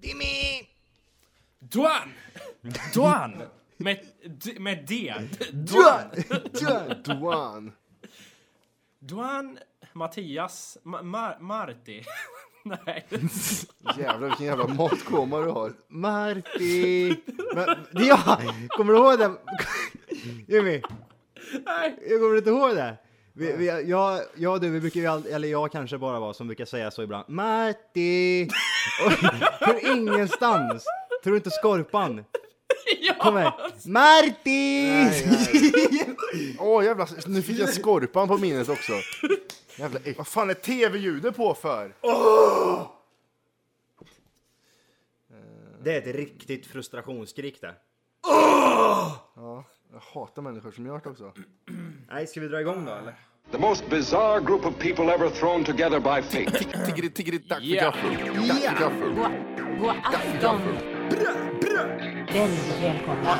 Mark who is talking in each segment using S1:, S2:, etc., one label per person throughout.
S1: Dimmy!
S2: Duan! Duan! Med, d- med D.
S3: Duan! Duan! Duan!
S2: Duan, Mattias, Ma- Mar- Marti. Nej.
S3: Jävlar vilken jävla matkoma du har. Marti! Men, det är jag! Kommer du ihåg det? Jimmy,
S2: Nej.
S3: jag kommer inte ihåg det. Vi, vi, jag, jag och du, vi brukar ju all, eller jag kanske bara var som brukar säga så ibland. Marti! Och, från ingenstans! Tror du inte Skorpan? Kom här. Marti!
S4: Åh jävla, nu fick jag skorpan på minnet också.
S3: Jävla äck-
S4: Vad fan är tv-ljudet på för?
S3: Det är ett riktigt frustrationsskrik det.
S4: Jag hatar människor som gör det också.
S3: Nej, ska vi dra igång då eller?
S5: The most bizarre group of people ever thrown together by fate.
S4: Tiggeri, tiggeri, tack för
S2: Ja.
S4: gaffel. Tack för gaffel.
S6: God, god afton! Väldigt välkomna.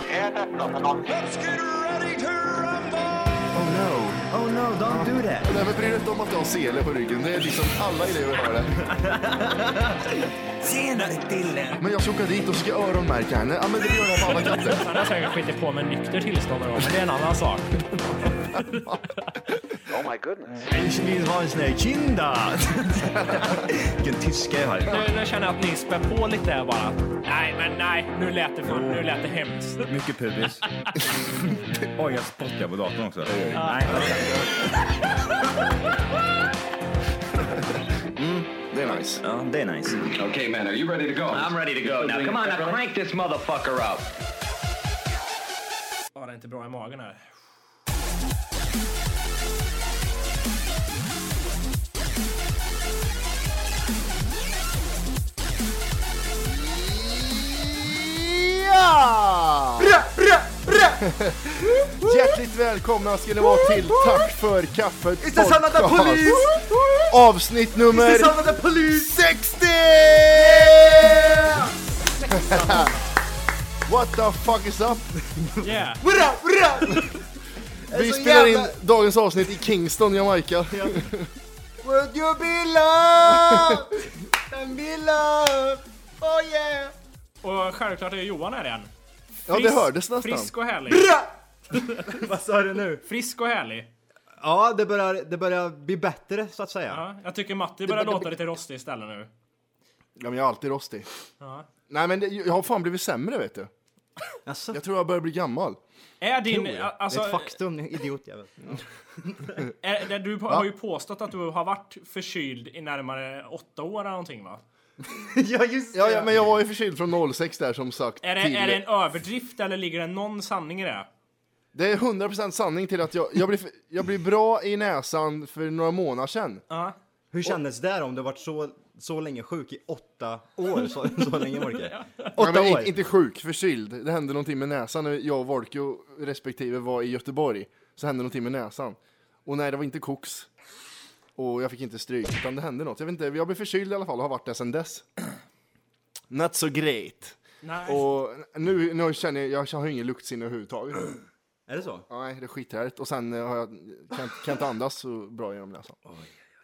S4: Oh no.
S3: Oh no, don't do that!
S4: Nej men bry dig inte om att du har sele på ryggen. Det är liksom alla elever har det.
S1: Tjenare Dille!
S4: Men jag ska åka dit och ska öronmärka henne. Ja men det gör jag på alla katter.
S2: Han har säkert skitit på med nykter tillstånd då, men det är en annan sak.
S5: Oh my goodness.
S3: Ich vill ha en sån här kinda! Vilken tyska jag har.
S2: Nu, nu känner jag att ni spär på lite här bara. Nej, men nej. Nu lät det, fan, nu lät det hemskt.
S7: Mycket pubis. Oj, jag spottar på datorn också. Nej,
S4: Det är nice.
S7: ja, det är nice.
S5: Okay, man, are you ready to go? I'm ready to go. Now, come on, now crank this motherfucker up.
S2: Var det är inte bra i magen här?
S4: Hjärtligt välkomna ska ni vara till Tack för kaffet
S3: this another police?
S4: Avsnitt nummer...
S3: the police!
S4: 60! What the fuck is up?
S2: Yeah.
S3: Hurra, hurra!
S4: Vi
S3: så
S4: spelar
S3: jävla-
S4: in dagens avsnitt i Kingston, Jamaica.
S3: Would you be loved? And be loved? Oh yeah!
S2: Och självklart är Johan här igen.
S4: Ja, det
S2: Frisk-
S4: hördes nästan.
S2: Frisk och härlig.
S3: Vad sa du nu?
S2: Frisk och härlig.
S3: Ja, det börjar, det börjar bli bättre så att säga.
S2: Ja, jag tycker Matti börjar låta lite rostig istället nu.
S4: Ja, men jag är alltid rostig.
S2: Ja.
S4: Nej, men det, jag har fan blivit sämre, vet du.
S3: Jaså?
S4: Jag tror jag börjar bli gammal.
S2: Är din... Alltså,
S3: det är ett faktum, ni idiotjävel.
S2: är, det- du har ju påstått att du har varit förkyld i närmare åtta år eller någonting va?
S3: ja, just
S4: Ja, ja, men jag var ju förkyld från 06 där, som sagt.
S2: Är
S4: till-
S2: det, är det en överdrift eller ligger det någon sanning i det?
S4: Det är 100% sanning till att jag, jag, blir, för- jag blir bra i näsan för några månader sedan.
S2: Ja.
S3: Hur kändes det om du varit så, så länge sjuk i åtta år? Så, så länge Volke? Åtta
S4: men
S3: år?
S4: in- Inte sjuk, förkyld. Det hände någonting med näsan när jag och Volkio respektive var i Göteborg. Så hände någonting med näsan. Och nej, det var inte koks. Och jag fick inte stryk, utan det hände något. Jag vet inte, jag blev förkyld i alla fall och har varit det sedan dess. Not so great.
S2: Nej.
S4: Och nu, nu känner jag, jag har ingen luktsinne överhuvudtaget.
S3: Är det så?
S4: Nej, det är skithärligt. Och sen eh, har jag, kan, kan inte andas så bra genom näsan.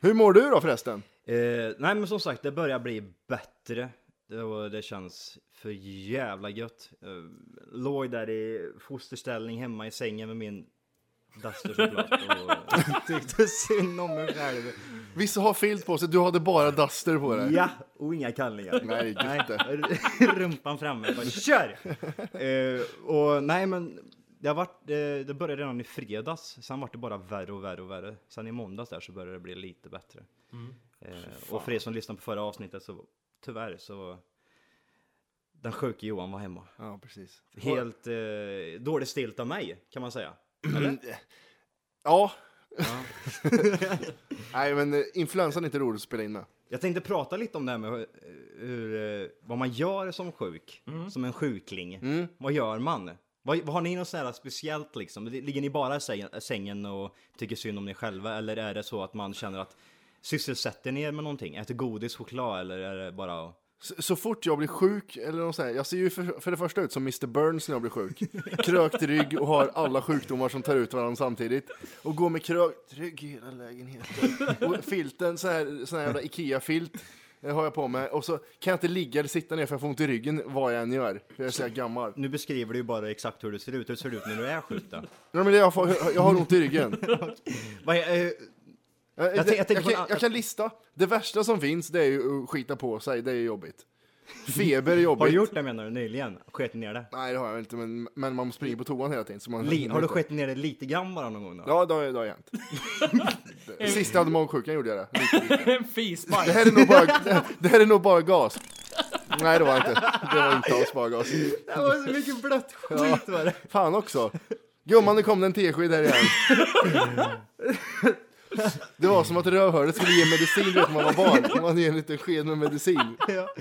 S4: Hur mår du då förresten?
S3: Eh, nej men som sagt, det börjar bli bättre. Det, var- det känns för jävla gött. Eh, låg där i fosterställning hemma i sängen med min duster såklart och tyckte synd om mig själv.
S4: Vissa har filt på sig, du hade bara duster på dig.
S3: Ja, och inga kallingar.
S4: Nej, gött det.
S3: Rumpan framme, bara kör! Eh, och nej men, det, har varit, eh, det, det började redan i fredags, sen vart det bara värre och värre och värre. Sen i måndags där så började det bli lite bättre. Eh, och för er som lyssnade på förra avsnittet så, tyvärr så, den sjuke Johan var hemma.
S4: Ja, precis.
S3: Helt eh, dåligt stilt av mig, kan man säga.
S4: Mm, Ja. Nej, men eh, influensan är inte roligt att spela in med.
S3: Jag tänkte prata lite om det här med hur, hur, eh, vad man gör som sjuk, som en sjukling. Vad gör man? Vad, vad har ni något sånt här speciellt liksom? Ligger ni bara i sängen, sängen och tycker synd om er själva eller är det så att man känner att sysselsätter ni er med någonting? Äter godis, choklad eller är det bara att-
S4: Så, så fort jag blir sjuk, eller något sånt här, jag ser ju för, för det första ut som Mr Burns när jag blir sjuk. Krökt rygg och har alla sjukdomar som tar ut varandra samtidigt. Och går med krökt rygg i hela lägenheten. Och filten, sån här, sån här jävla Ikea-filt. eh, eh, har jag på mig. Och så kan jag inte ligga eller sitta ner för jag får ont i ryggen vad jag än gör. För jag är så jävla gammal.
S3: Nu beskriver du ju bara exakt hur det ser ut. Hur ser det ut när du är sjuk då?
S4: Nej, men det jag, får, jag har ont i ryggen.
S3: Vad är, eh,
S4: Jag,
S3: tänk- jag tänker på en
S4: kan,
S3: annan-
S4: jag kan lista. Det värsta som finns det är ju att skita på sig, det är jobbigt. Feber är jobbigt.
S3: har du gjort det menar du nyligen? Skett ner det?
S4: Nej det har jag inte, men, men man springer på toan hela tiden. Så man
S3: Li, har du skett ner det lite grann bara någon gång då?
S4: Ja, det har, det har hänt. Sist jag hade magsjukan gjorde jag det. Lite, lite.
S2: En fisbajs.
S4: Det här är nog bara, det här är nog bara gas. Nej det var inte. Det var inte alls bara gas.
S3: Det var så mycket blött skit var det.
S4: Fan också. Gumman, nu kom den tesked här igen. Det var som att rövhålet skulle ge medicin vet man var barn. Man ger en liten sked med medicin.
S3: Ja.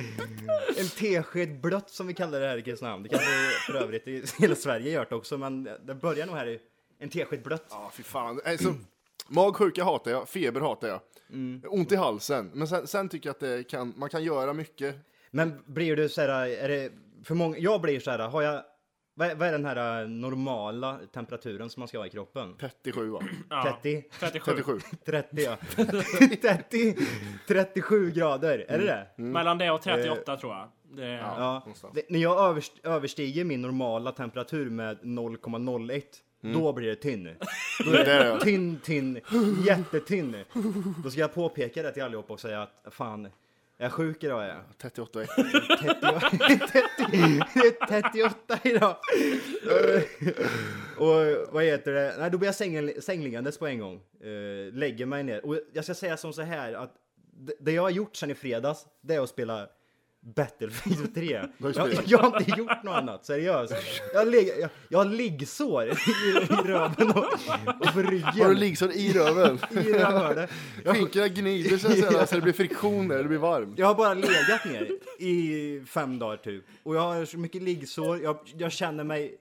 S3: En tesked blött som vi kallar det här i Kristinehamn. Det kanske för övrigt i hela Sverige gör det också, men det börjar nog här i en tesked blött.
S4: Ja, fy fan. Alltså, magsjuka hatar jag, feber hatar jag. Ont i halsen. Men sen, sen tycker jag att det kan, man kan göra mycket.
S3: Men blir du så här, är det för många? Jag blir så här, har jag, vad är, vad är den här eh, normala temperaturen som man ska ha i kroppen?
S4: 37 va?
S2: Ja.
S3: 30?
S2: 37.
S4: 37.
S3: 30 ja. 30, 37 grader, är det det?
S2: Mellan det och 38 tror jag. Det,
S3: Mm. Eh, Ja. Det, när jag överst, överstiger min normala temperatur med 0,01 Då blir det tynn. Då är
S4: Det är det.
S3: det tynn, tynn, jättetynn. Då ska jag påpeka det till allihopa och säga att fan, jag är sjuk idag. är Jag
S4: 38 är
S3: 38 idag. Eh, och vad heter det? Nej, då blir jag säng, sängliggandes på en gång. Eh, lägger mig ner. Och jag ska säga som så här att det, det jag har gjort sedan i fredags, det är att spela Battlefield 3. jag,
S4: spelat.
S3: jag har inte gjort något annat, seriöst. Jag, har leg- jag, jag har liggsår i, i röven och, och på
S4: Har du
S3: ryggen.
S4: liggsår i röven?
S3: I rövhålet.
S4: Skinkorna gnider sig så, här, så det blir friktion där, det blir varmt.
S3: Jag har bara legat ner i fem dagar typ. Och jag har så mycket liggsår. Jag, jag känner mig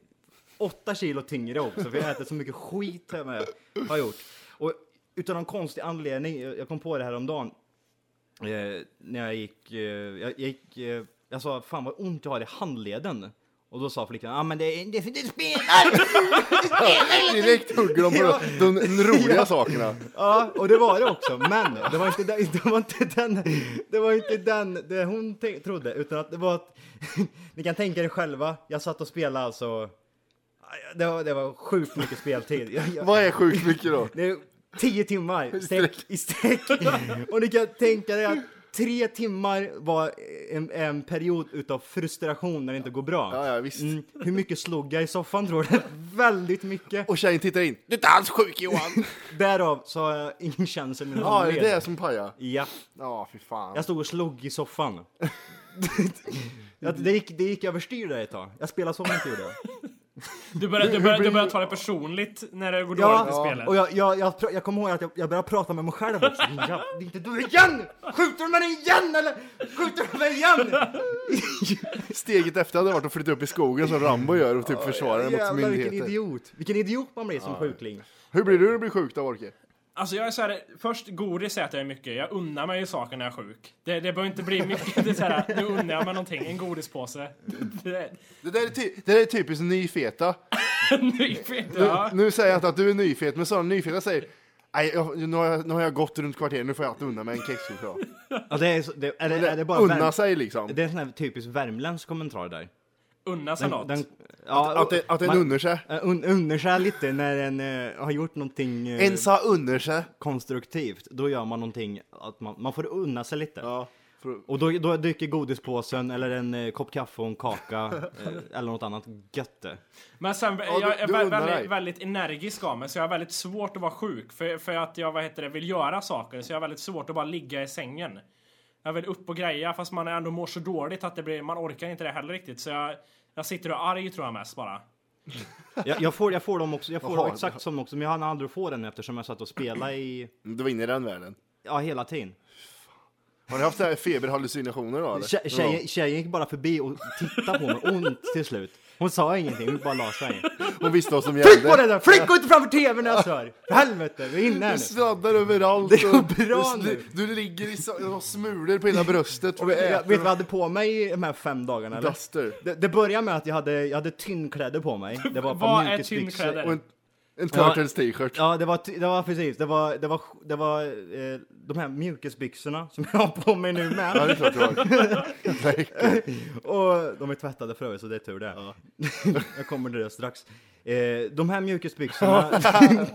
S3: åtta kilo tyngre också för jag har ätit så mycket skit hemma jag har gjort. Och utan någon konstig anledning, jag jag kom på det här om dagen. Eh, när jag gick, eh, jag, jag gick, eh, jag sa fan vad ont jag har i handleden. Och då sa flickan, ja ah, men det är, det är för att du spelar!
S4: Direkt hugger de på de, de roliga sakerna.
S3: Ja, och det var det också. Men det var inte den, det var inte den, det var inte den det hon te- trodde, utan att det var att ni kan tänka er själva. Jag satt och spelade alltså. Det var, det var sjukt mycket speltid. Jag, jag,
S4: Vad är sjukt mycket då?
S3: det är tio timmar i sträck, i sträck. Och ni kan tänka er att tre timmar var en, en period utav frustration när det inte går bra.
S4: Ja, ja, visst.
S3: Mm, hur mycket slog jag i soffan tror du? Väldigt mycket.
S4: Och tjejen tittar in. Du är inte alls sjuk Johan!
S3: Därav så har jag ingen känsla i mina
S4: Ja, det är
S3: handleder.
S4: det som pajar.
S3: Ja.
S4: Ja, fy fan.
S3: Jag stod och slog i soffan. Ja, det, gick, det gick överstyr där ett tag. Jag spelade så mycket gjorde jag.
S2: Du, börjar, du, börjar, du börjar ta det personligt när det går dåligt i spelet.
S3: och jag, jag, jag, pr- jag kommer ihåg att jag, jag började prata med mig själv också. Jag, det är inte du igen! Skjuter du mig igen eller? Skjuter du mig igen?
S4: Steget efter hade varit att flytta upp i skogen som Rambo gör och typ försvara den mot
S3: Jävlar vilken
S4: myndigheter.
S3: idiot. Vilken idiot man blir som sjukling.
S4: Hur blir du när du blir sjuk då, Orke?
S2: Alltså jag är så här, först godis äter jag mycket. Jag unnar mig ju saker när jag är sjuk. Det, det behöver inte bli mycket. Det är så här, nu unnar jag mig någonting. En godispåse. Det,
S4: Det där är, ty- det där är typiskt nyfeta.
S2: nyfet, ja.
S4: Nu säger jag inte att du är nyfet, men sådana nyfeta säger Nej, jag, nu, har jag, nu har jag gått runt kvarteren, nu får jag alltid unna mig en kexchoklad.
S3: Ja, det är, så- det, är, det, är det bara
S4: Unna
S3: värm-
S4: sig liksom.
S3: Det är en sån här typisk värmländsk kommentar där.
S2: Unna sig något.
S3: ja,
S4: Att, det, att en
S3: man-
S4: unnar sig.
S3: eh, un, unnar sig lite när en eh, har gjort någonting. eh,
S4: En sa unnar sig.
S3: konstruktivt, då gör man någonting att man, man får unna sig lite.
S4: Ja, för,
S3: Och då, då dyker godispåsen eller en eh, kopp kaffe och en kaka eh, eller något annat götte.
S2: Men sen,
S4: du-
S2: jag är
S4: du
S2: vä-
S4: unnar dig.
S2: väldigt, väldigt energisk av mig, så jag har väldigt svårt att vara sjuk. För, för att jag, vad heter det, vill göra saker, så jag har väldigt svårt att bara ligga i sängen. Jag vill upp och greja, fast man ändå mår så dåligt att det blir, man orkar inte det heller riktigt. Så jag, jag sitter och är arg tror jag mest bara.
S3: Jag, jag, får, jag får dem också, jag får
S4: Jaha.
S3: dem exakt som också, men jag hann aldrig få den eftersom jag satt och spelade i,
S4: du Mm, var inne i den världen.
S3: ja hela tiden.
S4: Har ni haft så här feberhallucinationer då eller?
S3: Tje- Tjejen, tjejen gick bara förbi och tittade på mig ont till slut. Hon sa ingenting, hon bara la sig.
S4: Hon visste vad som
S3: Tryck på det
S4: gällde.
S3: där! Flick inte framför tvn när jag stör! För helvete, vi är inne här
S4: Du
S3: nu.
S4: sladdar överallt.
S3: Det går
S4: och-
S3: bra
S4: du, du, du ligger i so- och har smulor på hela bröstet.
S3: Och
S4: du
S3: jag, jag, vet
S4: äter
S3: du vad jag hade på mig de här fem dagarna? Eller?
S4: Duster.
S3: Det, det började med att jag hade, jag hade tynnkläder på mig. Det var ett par
S2: Vad är
S3: mjukisbyxor.
S2: tynnkläder?
S4: och en En Turtles t-shirt.
S3: Ja, det var, ty- det var precis. Det var, det var, det var eh, de här mjukisbyxorna som jag har på mig nu
S4: Ja, det är
S3: med.
S4: klart du har. Verkligen.
S3: Och de är tvättade för övrigt, så det är tur det. jag kommer till det strax. Eh, de här mjukisbyxorna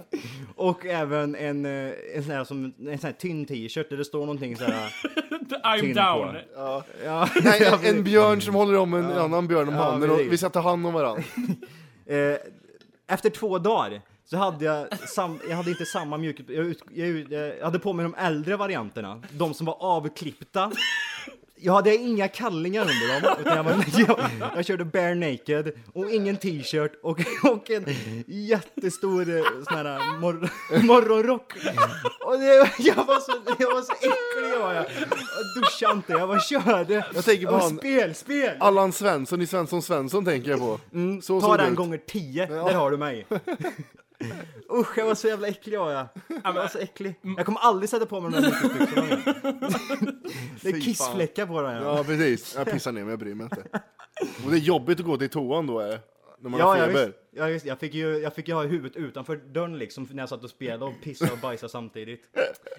S3: och även en, eh, en sån här, som, en sån här tynn t-shirt där det står någonting så här.
S2: I'm
S3: Tynn
S2: down.
S3: på. Ja,
S4: Nej, en- en björn som håller om en annan björn om
S3: Ja,
S4: handen och
S3: precis.
S4: vi ska ta hand om varandra.
S3: Eh, efter två dagar så hade jag, sam, jag hade inte samma mjukis... Jag, ut, jag, ut- jag hade på mig de äldre varianterna, de som var avklippta. Jag hade inga kallingar under dem, utan jag, var, jag, jag körde bare naked och ingen t-shirt och, och en jättestor eh, sån här mor, morgonrock. Och det, jag, var så, jag var så äcklig var jag. Jag duschade inte, jag var körde.
S4: Jag tänker
S3: jag
S4: på
S3: var
S4: han-
S3: spel, spel!
S4: Allan Svensson i Svensson Svensson tänker jag på. så
S3: Mm, Ta
S4: såg det
S3: den
S4: ut.
S3: gånger tio, där har du mig. Usch, jag var så jävla äcklig var jag. Jag var så äcklig. Jag kommer aldrig sätta på mig de där mjukisbyxorna igen. Det är
S4: fan.
S3: kissfläckar på dem. Ja,
S4: Ja, precis. Jag pissar ner mig, jag bryr mig inte. Och det är jobbigt att gå till toan då, är det? När man
S3: ja,
S4: har
S3: ja,
S4: feber.
S3: visst. ja visst. Jag fick ju jag fick ju ha huvudet utanför dörren liksom när jag satt och spelade och pissade och bajsade samtidigt.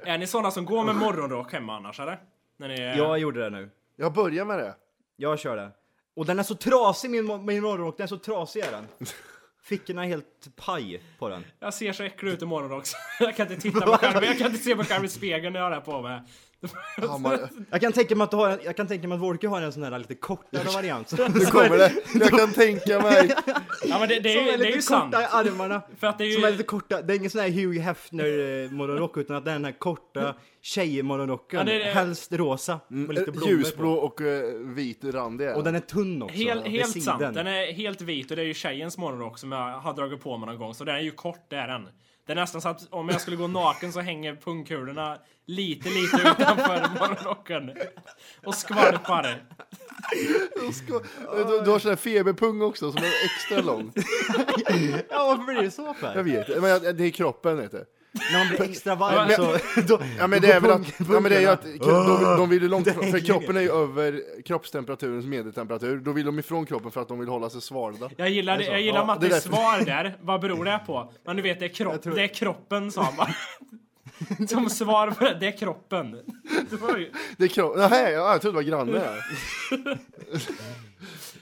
S2: Är ni sådana som går med morgonrock hemma annars eller? När ni är...
S3: Jag gjorde det nu.
S4: Jag börjar med det.
S3: Jag kör det. Och den är så trasig min, mo- min morgonrock, den är så trasig är den. Fickorna är helt paj på den.
S2: Jag ser så äcklig ut i morgonrock så jag kan inte titta på mig själv. Jag kan inte se mig själv i spegeln när jag har det här på mig.
S4: Hammar.
S3: Jag kan tänka mig att, du har, en- jag kan tänka mig att Wolke har en sån här lite kortare variant.
S4: Nu kommer det. Jag kan tänka mig. eh,
S2: Ja men det, det, är,
S3: Som
S2: ju- det är ju
S3: lite
S2: sant.
S3: korta i armarna.
S2: För att det är ju-
S3: Som är lite korta. Det är ingen sån här Hugh Hefner eh, morgonrock utan att det är den här korta tjejmorgonrocken.
S2: Mm. Ja, det är-
S3: Helst rosa. Med lite blommor
S4: Mm, Ljusblå
S3: på.
S4: och eh, vit randig är
S3: Och
S4: den.
S3: den är tunn också.
S2: Hel,
S3: vid
S2: helt
S3: sidan.
S2: sant. Den är helt vit och det är ju tjejens morgonrock som jag har dragit på mig någon gång. Så den är ju kort, det är den. Det är nästan så att om jag skulle gå naken så hänger pungkulorna lite, lite utanför morgonrocken. Och skvalpar.
S4: Du, du har sån här feberpung också som är extra lång.
S3: Ja varför blir det så för?
S4: Jag vet men jag, det är kroppen vet du.
S3: När man blir extra varm så... Då,
S4: Ja men
S3: då
S4: det är väl
S3: går
S4: att,
S3: pung-
S4: ja, men det är ju att
S3: punkarna.
S4: de, de vill ju långt
S3: Det
S4: ifrån,
S3: hänger ju
S4: för kroppen är ju över kroppstemperaturens medeltemperatur. Då vill de ifrån kroppen för att de vill hålla sig svalda.
S2: Jag gillar, det, jag
S4: Ja,
S2: gillar
S4: det är
S2: Mattis
S4: därför.
S2: svar där. Vad beror det på? Men du vet, det är, kropp, det är kroppen sa han bara. Som svar på det, det är kroppen. Det var ju,
S4: Det är kro- Nej, ja, jag trodde det var grannen här.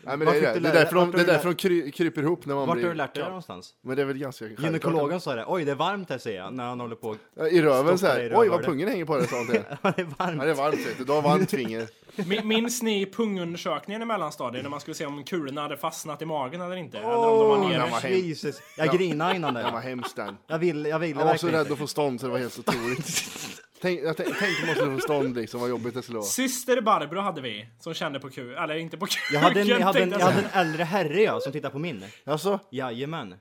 S4: Nej men det är,
S3: fick du
S4: det. Det är
S3: lära-
S4: därför de,
S3: vart har
S4: det är
S3: du
S4: därför de kry, kryper ihop när man
S3: Vart har
S4: blir...
S3: du lärt dig det någonstans?
S4: Men det är väl ganska självklart.
S3: Gynekologen sa det. Oj det är varmt här säger jag när han håller på.
S4: Ja, I röven så
S3: Stoppar i
S4: här.
S3: rövhålet.
S4: Oj vad pungen hänger på dig sa han till en.
S3: Ja det är
S4: Ja
S3: varmt.
S4: det är varmt vet du, du har varmt finger.
S2: Min- Minns ni pungundersökningen i mellanstadiet när man skulle se om kulorna hade fastnat i magen eller inte? eller om de var
S3: Åh,
S2: nere?
S4: den var hem.
S3: Jesus. Jag grinade innan
S4: Den var
S3: det.
S4: hemskt den.
S3: Jag ville, jag ville
S4: Jag var så
S3: verkligen
S4: rädd
S3: inte.
S4: att få stånd så det var helt otroligt. Tänk, jag tänk- tänkte man skulle få stånd liksom, vad jobbigt det skulle vara.
S2: Syster Barbro hade vi, som kände på kul, eller inte på kul.
S3: Jag hade, en, jag, hade en, jag hade en äldre herre jag som tittade på min.
S4: Alltså,
S3: Jajamän.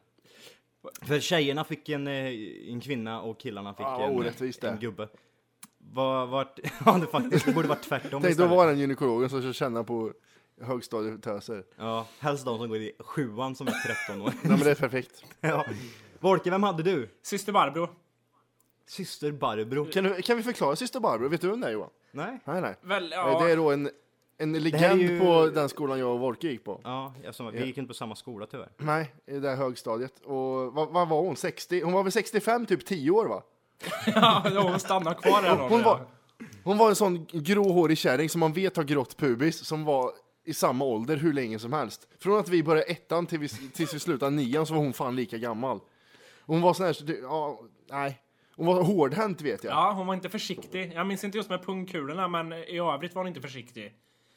S3: För tjejerna fick en, eh, en kvinna och killarna fick
S4: Ja, orättvist
S3: en,
S4: det.
S3: en gubbe. Var, vart, ja, det faktiskt, det borde varit tvärtom
S4: tänk då var den gynekologen som skulle känna på högstadietöser.
S3: Ja, helst de som går i sjuan som är 13 år.
S4: Nej men det är perfekt.
S3: ja. Volke, vem hade du?
S2: Syster Barbro.
S3: Syster Barbro?
S4: Kan, du, kan vi förklara syster Barbro? Vet du vem det är Johan?
S3: Nej?
S4: Nej nej.
S2: Väl,
S4: Eh,
S2: ja,
S4: Det är då en, en
S3: här är
S4: legend
S3: ju-
S4: på den skolan jag och Wolke gick på.
S3: Ja, eftersom vi gick inte på samma skola tyvärr.
S4: Nej, i det där högstadiet. Och vad, vad var hon? 60? Hon var väl 65, typ 10 år va?
S2: ja, hon stannar kvar där då.
S4: Hon var, hon var en sån gråhårig kärring som man vet har grått pubis som var i samma ålder hur länge som helst. Från att vi började ettan till vi, tills vi slutade nian så var hon fan lika gammal. Hon var sån här, så det- ja, nej. Hon var hårdhänt vet jag.
S2: Ja, hon var inte försiktig. Jag minns inte just med pungkulorna, men i övrigt var hon inte försiktig.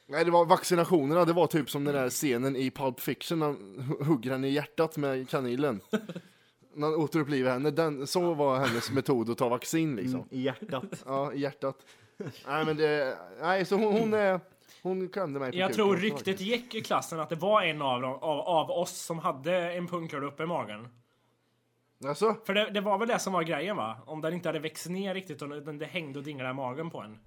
S4: Nej, det var vaccinationerna, det var typ som den där scenen i Pulp Fiction när han hu- hugger henne i hjärtat med kanilen. När han återupplivar henne, den, så var hennes metod att ta vaccin
S2: Mm.
S4: liksom.
S3: I hjärtat.
S4: Ja, i hjärtat. Nej, men det, nej, så hon, hon, är- hon klämde mig på
S2: Jag
S4: kuken
S2: tror
S4: också, faktiskt.
S2: ryktet gick i klassen att det var en av, dem, av, av oss som hade en pungkula uppe i magen.
S4: Alltså?
S2: För det, det var väl det som var grejen va? Om den inte hade växt ner riktigt utan det hängde och dinglade i magen på en.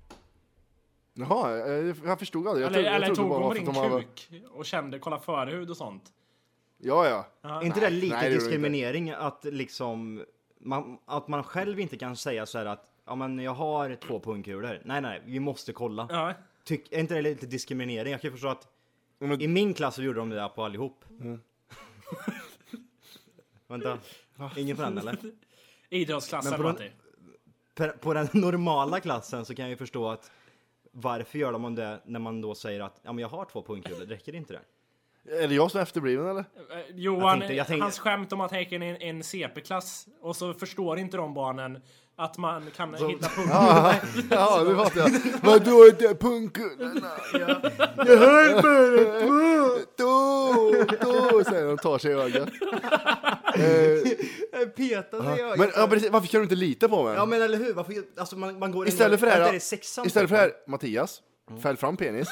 S4: Jaha, eh, jag förstod aldrig. Jag,
S2: Eller,
S4: tro- jag
S2: eller
S4: trodde
S2: tog
S4: bara
S2: hon på
S4: för att
S2: din
S4: de var...
S2: kuk och kände, kolla förhud och sånt?
S4: Ja, ja.
S3: Är inte det lite
S4: nej, det gjorde det
S3: diskriminering att liksom man, att man själv inte kan säga så här att ja men jag har två pungkulor. Nej nej, vi måste kolla.
S2: Ja.
S3: Tyck, är inte det lite diskriminering? Jag kan ju förstå att i min klass så gjorde de det där på allihop. Vänta. Ingen för den eller? Men
S2: Idrottsklassen,
S3: på den-
S2: Matti.
S3: Per- På den normala klassen så kan jag ju förstå att varför gör de det när man då säger att ja, men jag har två pungkulor, räcker inte det?
S4: Är det jag som är efterbliven eller?
S2: Eh, Johan,
S3: Jag tänkte- jag tänkte-
S2: hans skämt om att Häcken är en, en CP-klass och så förstår inte de barnen att man kan hitta punkter.
S4: Ja, det fattar jag. Vadå inte pungkulorna? Ja. Jag hör bara två. Då, då, säger de och tar sig i ögat. Eh,
S3: Peta sig i ögat.
S4: Men ja, precis, varför kan du inte lita på mig?
S3: Ja men eller hur, varför, alltså man, man går
S4: Istället för det
S3: Vänta,
S4: här,
S3: är det sexan?
S4: istället för det här Mattias, fäll fram penis.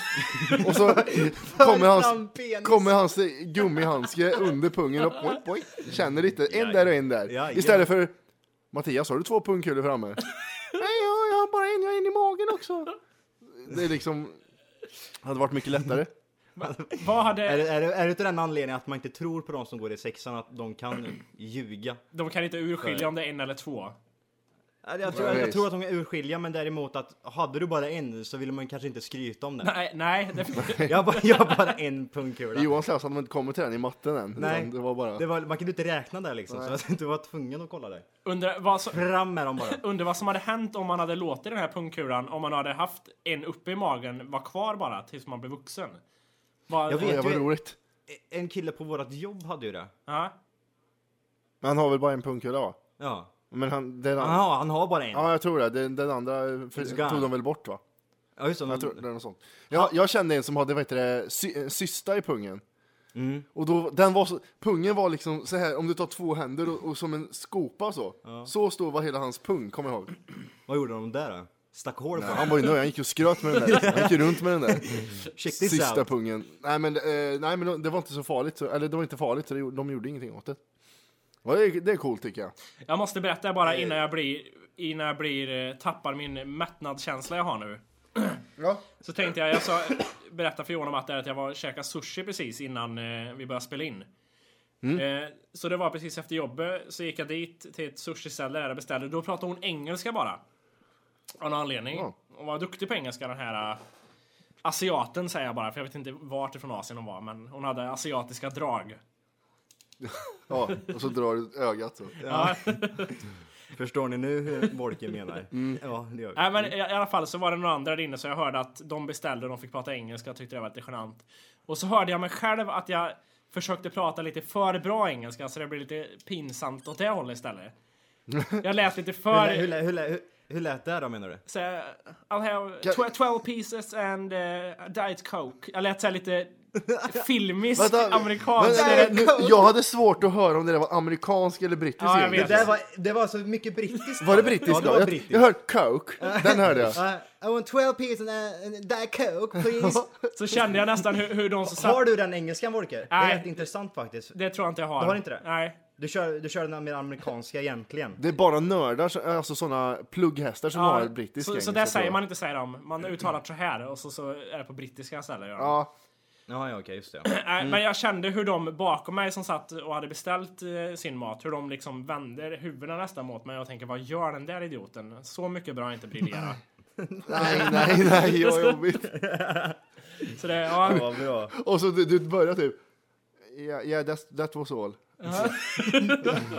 S4: Och så kommer
S3: Mm. fram
S4: hans,
S3: penis.
S4: kommer hans gummihandske under pungen och boing, boing, känner lite, en där och en
S3: Ja,
S4: där. Istället för Mattias, har du två pungkulor framme? Nej, ja, jag har bara en, jag har en i magen också. Det är liksom, hade varit mycket lättare.
S2: Vad
S3: Är
S2: hade,
S3: det, är, det, är det inte den anledningen att man inte tror på de som går i sexan, att de kan ljuga?
S2: de kan inte urskilja om det är en eller två.
S3: Ja, Jag tror,
S4: Ja,
S3: jag
S4: visst.
S3: tror att de är urskilja, men däremot att hade du bara en så ville man kanske inte skryta om det.
S2: Nej, nej det,
S3: Jag har bara, jag har bara en pungkula.
S4: Johan slösade hade man inte kommit till den i matten än.
S3: Nej,
S4: utan Det var bara...
S3: det var, man kunde inte räkna där liksom, så att du var tvungen att kolla där.
S2: undrar, vad som,
S3: Fram med dem bara.
S2: undrar vad som hade hänt om man hade låtit den här pungkulan, om man hade haft en uppe i magen, vara kvar bara tills man blev vuxen. Vad-
S3: Jag vet
S4: Oj, ja, vad
S3: ju-
S4: roligt.
S3: E- En kille på vårt jobb hade ju det.
S2: Ja.
S4: Men han har väl bara en pungkula va?
S3: Ja.
S4: Men han, den, an-
S3: Aha, han har bara en.
S4: ja, jag tror det. Den, den andra
S3: gone.
S4: för, tog de väl bort va?
S3: Ja, just det.
S4: Jag,
S2: Mm.
S4: tror, det är något sånt. Jag, jag kände en som hade vad heter det, sy, eh, cysta i pungen.
S2: Mm.
S4: Och då, den var så, pungen var liksom så här, om du tar två händer och, och som en skopa så. Så stor var hela hans pung, kommer jag ihåg.
S3: Vad gjorde de där då? Stack hål på
S4: Han
S3: den?
S4: var ju nöjd, han gick och skröt med den där. Han gick ju runt med den där
S3: Check this
S4: sista
S3: out.
S4: pungen. Nej men, eh, nej, men de- det var inte så farligt, så, eller det var inte farligt så det, gjorde- de gjorde ingenting åt det. Ja, Det är, det är coolt tycker jag.
S2: Jag måste berätta bara
S4: Eh.
S2: innan jag blir, innan jag blir, eh, tappar min mättnadskänsla jag har nu.
S4: Ja.
S2: Så tänkte jag, jag sa, berätta för Johan och Matte att jag var och käkade sushi precis innan eh, vi började spela in.
S4: Mm.
S2: Eh, så det var precis efter jobbet, så gick jag dit till ett sushiställe där jag beställde. Då pratade hon engelska bara. Av någon anledning.
S4: Ja.
S2: Hon var duktig på engelska den här eh, asiaten säger jag bara, för jag vet inte vart ifrån Asien hon var. Men hon hade asiatiska drag.
S4: Ja, och så drar du ögat så.
S2: Ja.
S3: Förstår ni nu hur Wolke menar?
S4: Mm.
S3: Ja, det gör vi.
S2: Nej, men i, i alla fall så var det några andra där inne så jag hörde att de beställde och de fick prata engelska. Jag tyckte det var lite genant. Och så hörde jag mig själv att jag försökte prata lite för bra engelska så det blev lite pinsamt åt det hållet istället. Jag lät lite
S3: Hur,
S2: för...
S3: lä- hur, lä- hur, lä- hur, hur lät det här då menar du?
S2: Så, här, I'll have tw- 12 pieces and uh, diet coke. Jag lät så här lite filmisk
S4: Vänta,
S2: amerikansk.
S4: vänta, vänta, eh, nu, jag hade svårt att höra om det där var amerikansk eller brittisk
S2: Ja, jag
S4: engelska.
S2: vet. Det där
S3: var, det var så mycket brittiskt.
S4: Var det brittisk?
S3: Ja, det
S4: då?
S3: var
S4: jag,
S3: brittiskt.
S4: jag hörde Coke, den hörde jag.
S3: I want 12 pieces and, and Diet Coke, please.
S2: Så kände jag nästan hur, hur de som
S3: Har
S2: satt...
S3: du den engelskan, Volker? Det är
S2: Nej.
S3: rätt intressant faktiskt.
S2: Det tror jag inte jag har.
S3: Du har inte det?
S2: Nej.
S3: Du kör, du kör den mer amerikanska egentligen.
S4: Det är bara nördar, som- alltså sådana plugghästar som har brittisk
S2: så,
S4: engelska.
S2: så där
S4: tror
S2: säger
S4: jag. Eh,
S2: man inte säger de. Man uttalar så här och så, så är det på brittiska istället. gör de.
S4: Ja, Mm.
S3: Ja, ja, okej, just det.
S2: Nej, Men jag kände hur de bakom mig som satt och hade beställt eh, sin mat, hur de liksom vände huvudena nästan mot mig och tänker vad gör den där idioten? Så mycket bra inte briljera.
S4: nej, nej, nej, vad jobbigt.
S2: så det, ja,
S3: Vad bra.
S4: Och så du, du börjar typ, yeah, yeah that, that was all.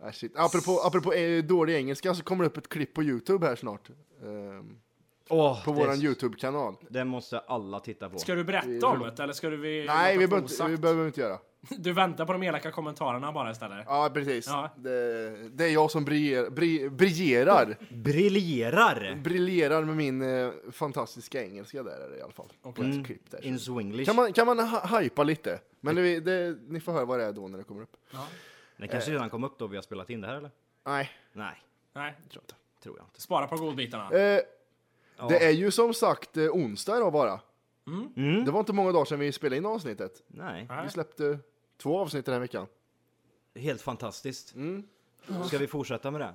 S4: ah, shit. Apropå, apropå eh, dålig engelska så kommer det upp ett klipp på Youtube här snart. Ehm,
S3: Åh,
S4: på
S3: det-
S4: våran Youtube-kanal.
S3: Den måste alla titta på.
S2: ska du berätta om det eller ska du vi
S4: Nej,
S2: låta
S4: vi
S2: det
S4: behöver inte-
S2: osagt?
S4: vi behöver inte göra.
S2: Du väntar på de elaka kommentarerna bara istället.
S4: Ja, precis.
S2: Ja.
S4: Det, det är jag som briljer, bri, briljerar.
S3: Briljerar!
S4: briljerar med min eh, fantastiska engelska där är det i alla fall. På ett klipp där.
S3: Mm. In Swinglish.
S4: Kan man, kan man ha- hypa lite? Men det, det, ni får höra vad det är då när det kommer upp.
S3: Den kanske redan kom upp då vi har spelat in det här eller?
S4: Nej.
S3: Nej,
S2: Nej,
S3: tror jag inte.
S2: spara på godbitarna.
S4: Eh, Det är ju som sagt eh, onsdag idag bara.
S3: Mm.
S4: Det var inte många dagar sedan vi spelade in avsnittet.
S3: Nej,
S2: Nej.
S4: Vi släppte två avsnitt den här veckan.
S3: helt fantastiskt. Ska vi fortsätta med det?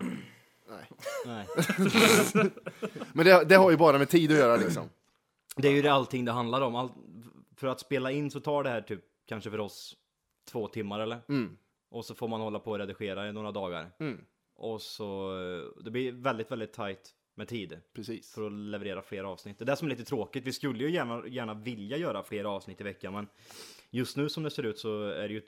S4: Nej.
S3: Nej.
S4: Men det, det har ju bara med tid att göra liksom.
S3: Det är ju det allting det handlar om. Allt, för att spela in så tar det här typ kanske för oss två timmar eller?
S4: Mm.
S3: Och så får man hålla på och redigera i några dagar. Och så eh, det blir väldigt, väldigt tajt med tid
S4: Precis.
S3: för att leverera fler avsnitt. Det är det som är lite tråkigt. Vi skulle ju gärna, gärna vilja göra fler avsnitt i veckan men just nu som det ser ut så är det ju ett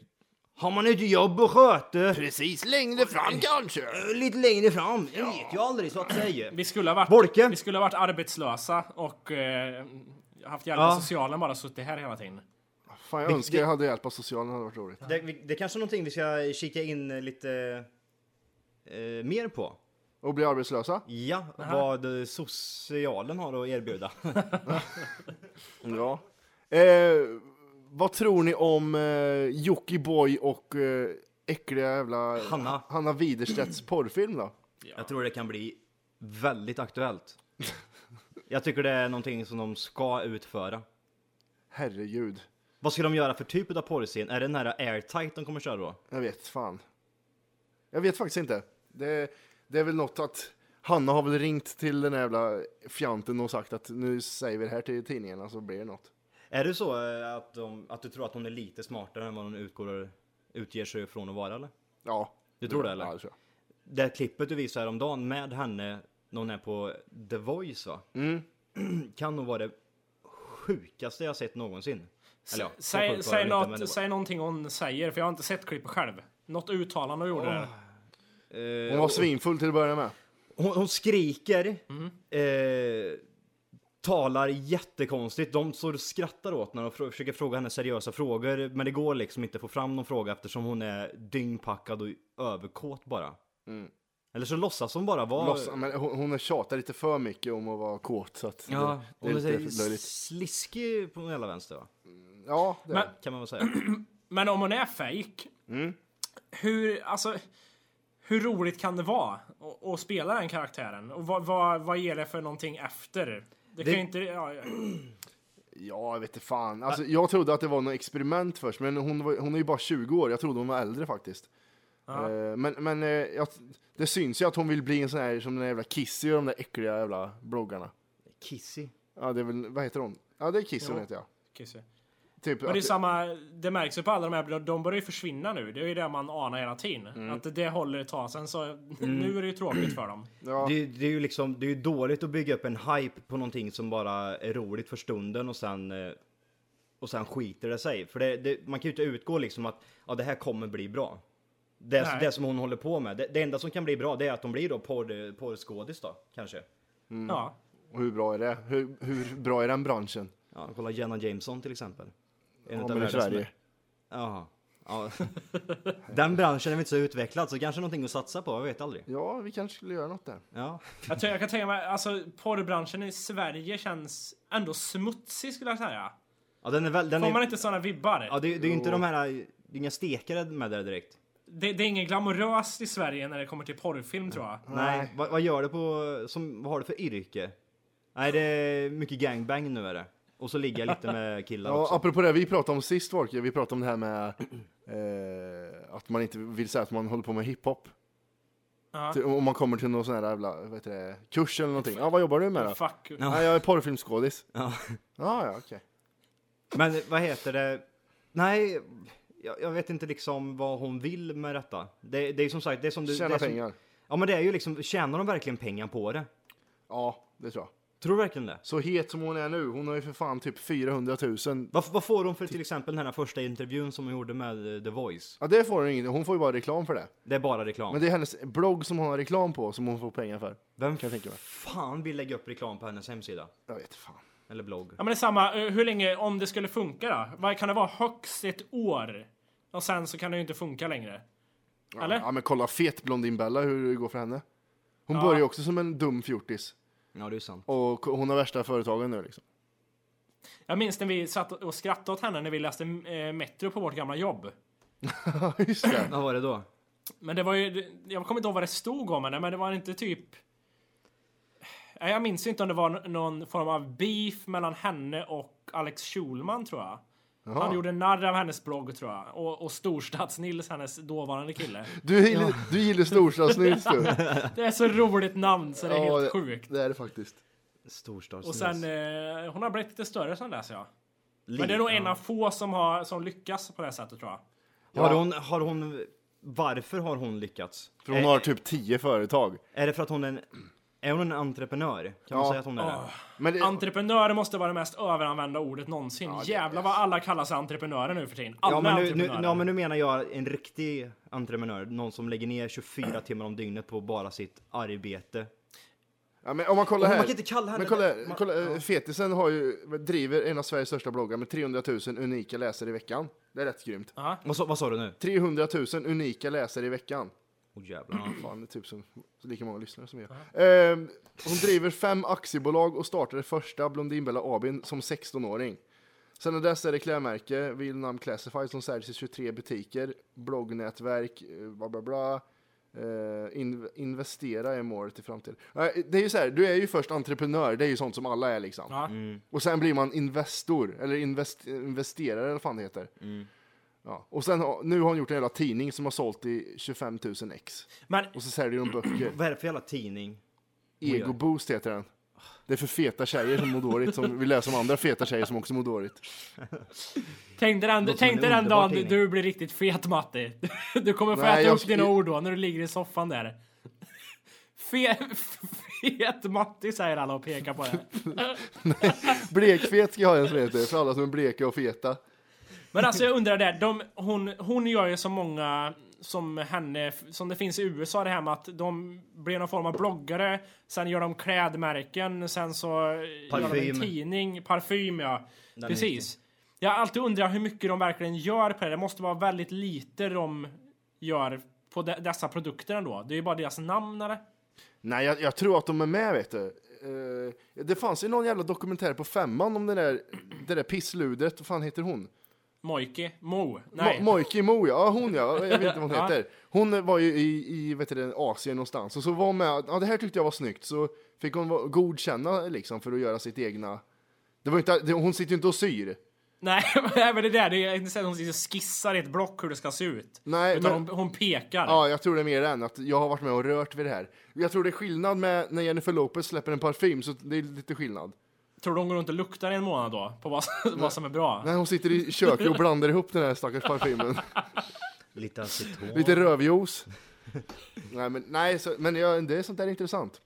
S3: Har man ett jobb att sköta Eh,
S4: Precis längre fram kanske.
S3: lite längre fram, det vet ju aldrig så att säga.
S2: Vi skulle ha varit,
S3: Volke?
S2: vi skulle ha varit arbetslösa och eh, haft hjälp av
S3: Ja.
S2: socialen bara suttit här hela tiden.
S4: Fan, jag
S3: Det-
S4: önskar
S3: det-
S4: jag hade hjälp av socialen, det hade varit roligt.
S3: Det, vi- det är kanske är någonting vi ska kika in eh, lite eh, mer på.
S4: Och bli arbetslösa?
S3: Ja, vad eh, socialen har att erbjuda.
S4: Ja. Eh, vad tror ni om eh, Jockiboi och eh, äckliga jävla
S3: Hanna.
S4: Hanna Widerstedts porrfilm då?
S3: Jag tror det kan bli väldigt aktuellt. Jag tycker det är någonting som de ska utföra.
S4: Herregud,
S3: Vad ska de göra för typ av porrscen? Är det den här airtight de kommer köra då?
S4: jag vet fan. Jag vet faktiskt inte. Det, det är väl något att Hanna har väl ringt till den här jävla fjanten och sagt att nu säger vi det här till tidningarna så blir det något.
S3: Är det så eh, att, de, att du tror att hon är lite smartare än vad hon utgår, utger sig från att vara eller?
S4: Ja.
S3: Du tror det eller?
S4: Ja, det tror jag.
S3: Det här klippet du visade häromdagen med henne när hon är på The Voice va? Kan nog vara det sjukaste jag sett någonsin. Eller ja, jag
S2: Säg,
S3: kollar på det
S2: säg,
S3: lite,
S2: något,
S3: men det var-
S2: säg någonting hon säger, för jag har inte sett klippet själv. Något uttalande hon gjorde. där.
S3: Eh,
S4: Hon var svinfull till att börja med.
S3: Hon, hon skriker, eh, talar jättekonstigt. De står och skrattar åt när de frå- försöker fråga henne seriösa frågor. Men det går liksom inte att få fram någon fråga eftersom hon är dyngpackad och överkåt bara. Eller så låtsas hon bara vara...
S4: Lossa, men hon, hon tjatar lite för mycket om att vara kåt så att
S3: Ja,
S4: det, det
S3: hon
S4: är
S3: är
S4: lite
S3: så
S4: löjligt.
S3: sliskig på hela vänster va?
S4: Ja, det
S2: Men-
S4: är.
S3: Kan man väl säga.
S2: Men om hon är fake,
S3: Mm.
S2: hur, alltså, hur roligt kan det vara att- att spela den karaktären? Och vad, vad, vad ger det för någonting efter? Det kan ju inte... Ja, ja.
S4: ja, jag vet inte fan. Alltså, jag trodde att det var något experiment först, men hon, var, hon är ju bara 20 år. Jag trodde hon var äldre faktiskt. Eh, Men, men eh, jag, det syns ju att hon vill bli en sån här som den där jävla Kissy och de där äckliga jävla bloggarna.
S3: Kissy.
S4: Ja, det är väl, vad heter hon? Ja, det är Kissy hon heter ja.
S2: Kissy.
S4: Typ,
S2: Men det är
S4: att-
S2: samma, det märks ju på alla de här, de börjar ju försvinna nu. Det är ju det man anar hela tiden.
S3: Mm.
S2: Att det håller ett tag, sen så, nu är det ju tråkigt för dem.
S4: ja,
S3: Det, det är ju liksom, det är ju dåligt att bygga upp en hype på någonting som bara är roligt för stunden och sen eh, och sen skiter det sig. För det, det, man kan ju inte utgå liksom att ja, det här kommer bli bra. Det,
S2: Nej.
S3: det som hon håller på med. Det, det enda som kan bli bra det är att de blir då porr, porrskådis då, kanske. Mm.
S2: Ja.
S4: och hur bra är det? Hur, hur bra är den branschen?
S3: Ja, kolla Jenna Jameson till exempel. En
S4: Ja,
S3: utav
S4: men i
S3: världens-
S4: Sverige.
S3: Jaha. Ja. Den branschen är väl inte så utvecklad så kanske någonting att satsa på, jag vet aldrig.
S4: Ja, vi kanske skulle göra något där.
S3: Ja.
S2: Jag, tror, jag kan tänka mig, alltså porrbranschen i Sverige känns ändå smutsig skulle jag säga.
S3: ja den är väl, den
S2: Får man
S3: är,
S2: inte såna vibbar?
S3: ja, det, det är ju inte de här, det är inga stekare med där direkt.
S2: Det, det är ingen glamoröst i Sverige när det kommer till porrfilm tror jag.
S3: Nej, vad, vad gör du på, som, vad har du för yrke? Nej, det är mycket gangbang nu är det. Och så ligger jag lite med killar
S4: Ja,
S3: också.
S4: apropå det vi pratade om sist, Volker, vi pratade om det här med eh, att man inte vill säga att man håller på med hiphop.
S2: Ja.
S4: Till- Om man kommer till någon sån här jävla vad heter det, kurs eller någonting. Ja, vad jobbar du med då?
S2: Fuck.
S4: Ja, jag är porrfilmsskådis.
S3: Ja.
S4: Ja, ja, okej.
S3: Men vad heter det? Nej, jag, jag vet inte liksom vad hon vill med detta. Det, det är som sagt, det är som du... det
S4: Tjäna
S3: är som,
S4: pengar.
S3: Ja, men det är ju liksom, tjänar de verkligen pengar på det?
S4: Ja, det tror jag.
S3: Tror du verkligen det?
S4: Så het som hon är nu, hon har ju för fan typ 400 000.
S3: Vad, vad får hon för till exempel den här första intervjun som hon gjorde med eh, The Voice?
S4: Ja, det får hon inget. Hon får ju bara reklam för det.
S3: Det är bara reklam.
S4: Men det är hennes blogg som hon har reklam på som hon får pengar för.
S3: Vem
S4: kan jag tänka mig.
S3: fan vill lägga upp reklam på hennes hemsida?
S4: Jag vet fan.
S3: Eller blogg?
S2: Ja men det är samma, Eh, hur länge, om det skulle funka då? Vad kan det vara? Högst ett år? Och sen så kan det ju inte funka längre. Eller?
S4: Ja, men kolla fet Blondin Bella hur det går för henne. Hon
S2: Ja.
S4: börjar ju också som en dum fjortis.
S3: Ja, det är sant.
S4: Och k- hon har värsta företagen nu liksom.
S2: Jag minns när vi satt och skrattade åt henne när vi läste eh, Metro på vårt gamla jobb.
S4: Ja, just det.
S3: Vad var det då?
S2: Men det var ju, jag kommer inte ihåg vad det stod om henne, men det var inte typ... Nej, Jag minns inte om det var n- någon form av beef mellan henne och Alex Schulman tror jag. Han gjorde narr av hennes blogg tror jag. Och, och Storstads-Nils, hennes dåvarande kille.
S4: Du gillar, du gillar storstadsnils du.
S2: Det är så roligt namn så det är helt sjukt.
S4: Det är det faktiskt.
S3: Storstadsnäs.
S2: Och sen, eh, hon har blivit lite större sen dess ja. Men det är
S3: Lite,
S2: nog en av få som, har, som lyckas på det här sättet tror jag.
S3: Har hon, har hon, varför har hon lyckats?
S4: För hon
S3: Eh,
S4: har typ tio företag.
S3: Är det för att hon är en Är hon en entreprenör? Kan man
S4: Ja.
S3: säga att hon är det?
S4: Men det,
S2: Entreprenör måste vara det mest överanvända ordet någonsin. Jävlar vad alla kallar sig entreprenörer nu för tiden. Alla
S3: Ja men, nu, nu,
S2: entreprenörer.
S3: ja men nu menar jag en riktig entreprenör, någon som lägger ner 24 timmar om dygnet på bara sitt arbete.
S4: ja, men om man kollar
S3: Man
S4: här.
S3: kan inte kalla henne-
S4: men kolla, här,
S3: man-
S4: kolla, eh, Fetisen har ju, driver en av Sveriges största bloggar med 300 000 unika läsare i veckan. Det är rätt grymt.
S3: Vad, sa- vad sa du nu?
S4: 300 000 unika läsare i veckan.
S3: Åh jävlar.
S4: Fan, det är typ som, lika många lyssnare som jag. Ehm, hon driver fem aktiebolag och startade första Blondinbella AB som 16-åring. Sedan dess är det klädmärke, Vilnam Classified, som säljs i 23 butiker, bloggnätverk, eh, bla bla bla. Eh, in, investera är målet i framtiden. Nej, det är ju så här, du är ju först entreprenör, det är ju sånt som alla är liksom.
S2: Ja.
S4: Och sen blir man investor, eller invest, investerare eller vad fan det heter. Ja. Och sen, har- nu har hon gjort en jävla tidning som har sålt i 25 000 ex.
S2: Men
S4: Och så säljer de böcker.
S3: Vad är det för jävla tidning?
S4: Ego Boost heter den. Det är för feta tjejer som mår dåligt, som vill läsa om andra feta tjejer som också mår dåligt.
S2: tänk dig den,
S3: Låter som
S2: tänk
S3: en
S2: dig den
S3: underbar
S2: dagen du-
S3: tidning.
S2: du blir riktigt fet Matti. Du kommer få
S4: Nej,
S2: äta
S4: jag
S2: upp
S4: sk-
S2: dina ord då när du ligger i soffan där. Fe, fet Matti säger alla och pekar på det.
S4: Blekfet ska jag ha en som heter, för alla som är bleka och feta.
S2: Men alltså jag undrar det, de, hon, hon gör ju så många som henne, som det finns i USA det här med att de blir någon form av bloggare, sen gör de klädmärken, sen så gör de en
S3: Parfym.
S2: tidning, parfym ja.
S3: är
S2: Precis. Jag har alltid undrat hur mycket de verkligen gör på det. Det måste vara väldigt lite de gör på de, dessa produkter ändå. Det är ju bara deras namn eller?
S4: Nej, jag, jag tror att de är med, vet du. Eh, det fanns ju någon jävla dokumentär på femman om det där, det där pissludret, vad fan heter hon?
S2: Mojke? Mo? Nej.
S4: Mo- Mojki Mo, ja hon ja, jag vet inte vad hon heter. Hon var ju i, i vet du, det, Asien någonstans och så var hon med, ja det här tyckte jag var snyggt, så fick hon va- godkänna liksom för att göra sitt egna. Det var ju inte, det, hon sitter ju inte och syr.
S2: Nej, men det är det. det är inte så att hon sitter och skissar i ett block hur det ska se ut.
S4: Nej,
S2: Utan
S4: men-
S2: hon, hon pekar.
S4: Ja, jag tror det är mer än att jag har varit med och rört vid det här. Jag tror det är skillnad med när Jennifer Lopez släpper en parfym, så det är lite skillnad.
S2: Tror du hon går runt och luktar i en månad då? På vad, vad som är bra?
S4: Nej, hon sitter i köket och blandar ihop den här stackars parfymen.
S3: Lite aceton.
S4: Lite rövjuice. Nej, men, nej, så, men ja, det är sånt där är intressant.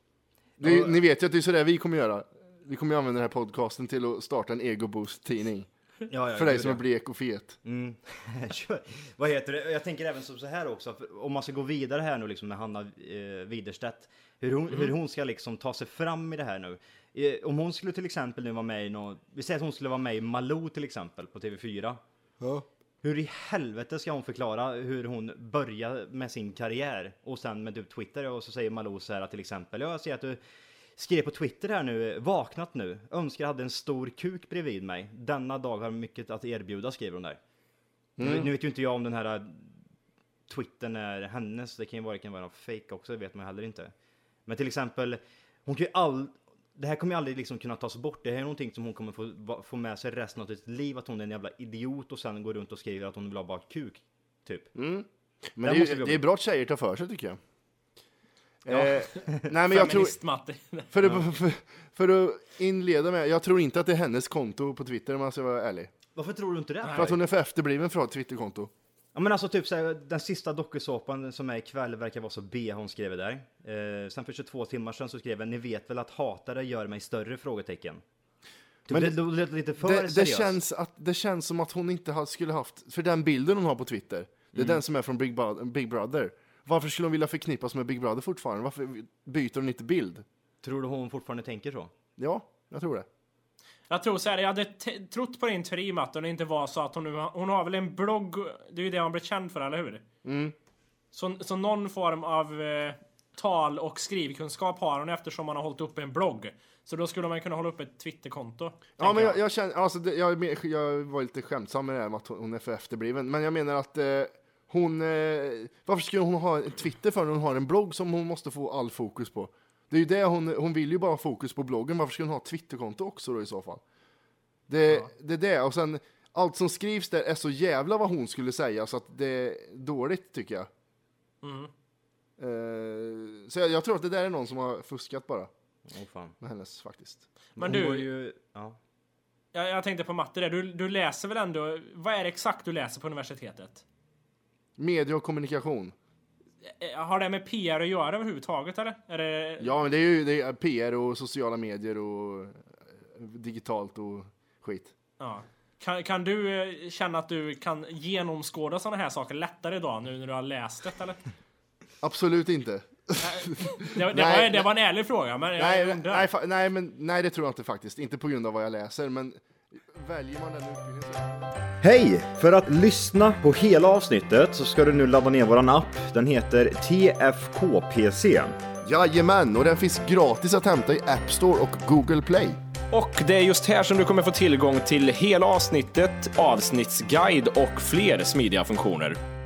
S4: Det, Ni vet ju att det är sådär vi kommer göra. Vi kommer ju använda den här podcasten till att starta en egoboost-tidning.
S3: Ja, ja,
S4: För dig
S3: gud,
S4: som
S3: ja.
S4: är blek och fet.
S3: Mm. Kör. Vad heter det? Jag tänker även som så här också, för om man ska gå vidare här nu liksom med Hanna eh, Widerstedt, hur hon, hur hon ska liksom ta sig fram i det här nu. Eh, om hon skulle till exempel nu vara med i någon, vi säger att hon skulle vara med i Malou till exempel på TV4.
S4: Ja.
S3: Hur i helvete ska hon förklara hur hon börjar med sin karriär och sen med typ Twitter och så säger Malou så här till exempel, "Ja, jag ser att du skrev på Twitter här nu, vaknat nu, önskar jag hade en stor kuk bredvid mig, denna dag har mycket att erbjuda skriver hon där.
S4: Mm.
S3: Nu, nu vet ju inte jag om den här eh, twittern är hennes, det kan ju vara, det kan vara fake också, det vet man heller inte. Men till exempel, hon kan ju all, det här kommer ju aldrig liksom kunna tas bort, det här är någonting som hon kommer få, va- få med sig resten av sitt liv, att hon är en jävla idiot och sen går runt och skriver att hon vill ha bara kuk, typ.
S4: Men
S3: Där
S4: det
S3: måste
S4: är,
S3: vi
S4: ju-
S3: jobba.
S4: det är bra att tjejer tar för sig, tycker jag.
S3: Ja.
S4: Eh, nej, men jag tror...
S2: Feminist-Matti.
S4: För att, för, för att inleda med, jag tror inte att det är hennes konto på Twitter om jag ska vara ärlig.
S3: Varför tror du inte det?
S4: För att hon är för efterbliven för att ha ett Twitterkonto.
S3: Ja men alltså typ såhär, den sista dokusåpan som är ikväll verkar vara så B hon skrev där. Eh, sen för 22 timmar sedan så skrev jag, ni vet väl att hatare gör mig större? Frågetecken. Typ,
S4: Men
S3: men det, det låter lite för
S4: Det, det,
S3: seriöst.
S4: känns att, det känns som att hon inte ha- skulle haft, för den bilden hon har på Twitter, det är den som är från Big, Bo- Big Brother. Varför skulle hon vilja förknippas med Big Brother fortfarande? Varför byter hon inte bild?
S3: Tror du hon fortfarande tänker så?
S4: Ja, jag tror det.
S2: Jag tror så här, jag hade t- trott på din teori Matti om det inte var så att hon nu har- Hon har väl en blogg, det är ju det hon blir känd för, eller hur?
S4: Mm.
S2: Så, så någon form av eh, tal och skrivkunskap har hon eftersom man har hållit upp en blogg. Så då skulle man kunna hålla upp ett Twitterkonto.
S4: Ja, men
S2: tänker
S4: jag, jag känner, alltså, det, jag, är mer- jag var lite skämtsam med det här med att hon är för efterbliven, men jag menar att eh, hon, eh, varför skulle hon ha en Twitter för när hon har en blogg som hon måste få all fokus på? Det är ju det hon, hon vill ju bara ha fokus på bloggen, varför skulle hon ha ett Twitterkonto också då i så fall? Det, det är det, och sen allt som skrivs där är så jävla vad hon skulle säga så att det är dåligt tycker jag. Eh, så jag, jag tror att det där är någon som har fuskat bara
S3: Åh fan.
S4: med hennes faktiskt.
S2: Men
S3: Hon
S2: du-
S3: var Ju, ja.
S2: Jag, jag tänkte på Matti där, du, du läser väl ändå, vad är det exakt du läser på universitetet?
S4: Media och kommunikation.
S2: eh, har det med PR att göra överhuvudtaget eller? Är det,
S4: Ja, men det är ju det är PR och sociala medier och eh, digitalt och skit.
S2: Ja. Kan, kan du eh, känna att du kan genomskåda sådana här saker lättare idag nu när du har läst det eller?
S4: Absolut inte.
S2: Det, det,
S4: Nej,
S2: var, det var en ärlig fråga men jag
S4: Nej,
S2: undrar.
S4: nej, fa- nej, men, nej, det tror jag inte faktiskt. Inte på grund av vad jag läser, men väljer man den utbildningen så...
S3: Hej! För att lyssna på hela avsnittet så ska du nu ladda ner våran app. Den heter TFKPC.
S4: Jajamän, och den finns gratis att hämta i App Store och Google Play.
S1: Och det är just här som du kommer få tillgång till hela avsnittet, avsnittsguide och fler smidiga funktioner.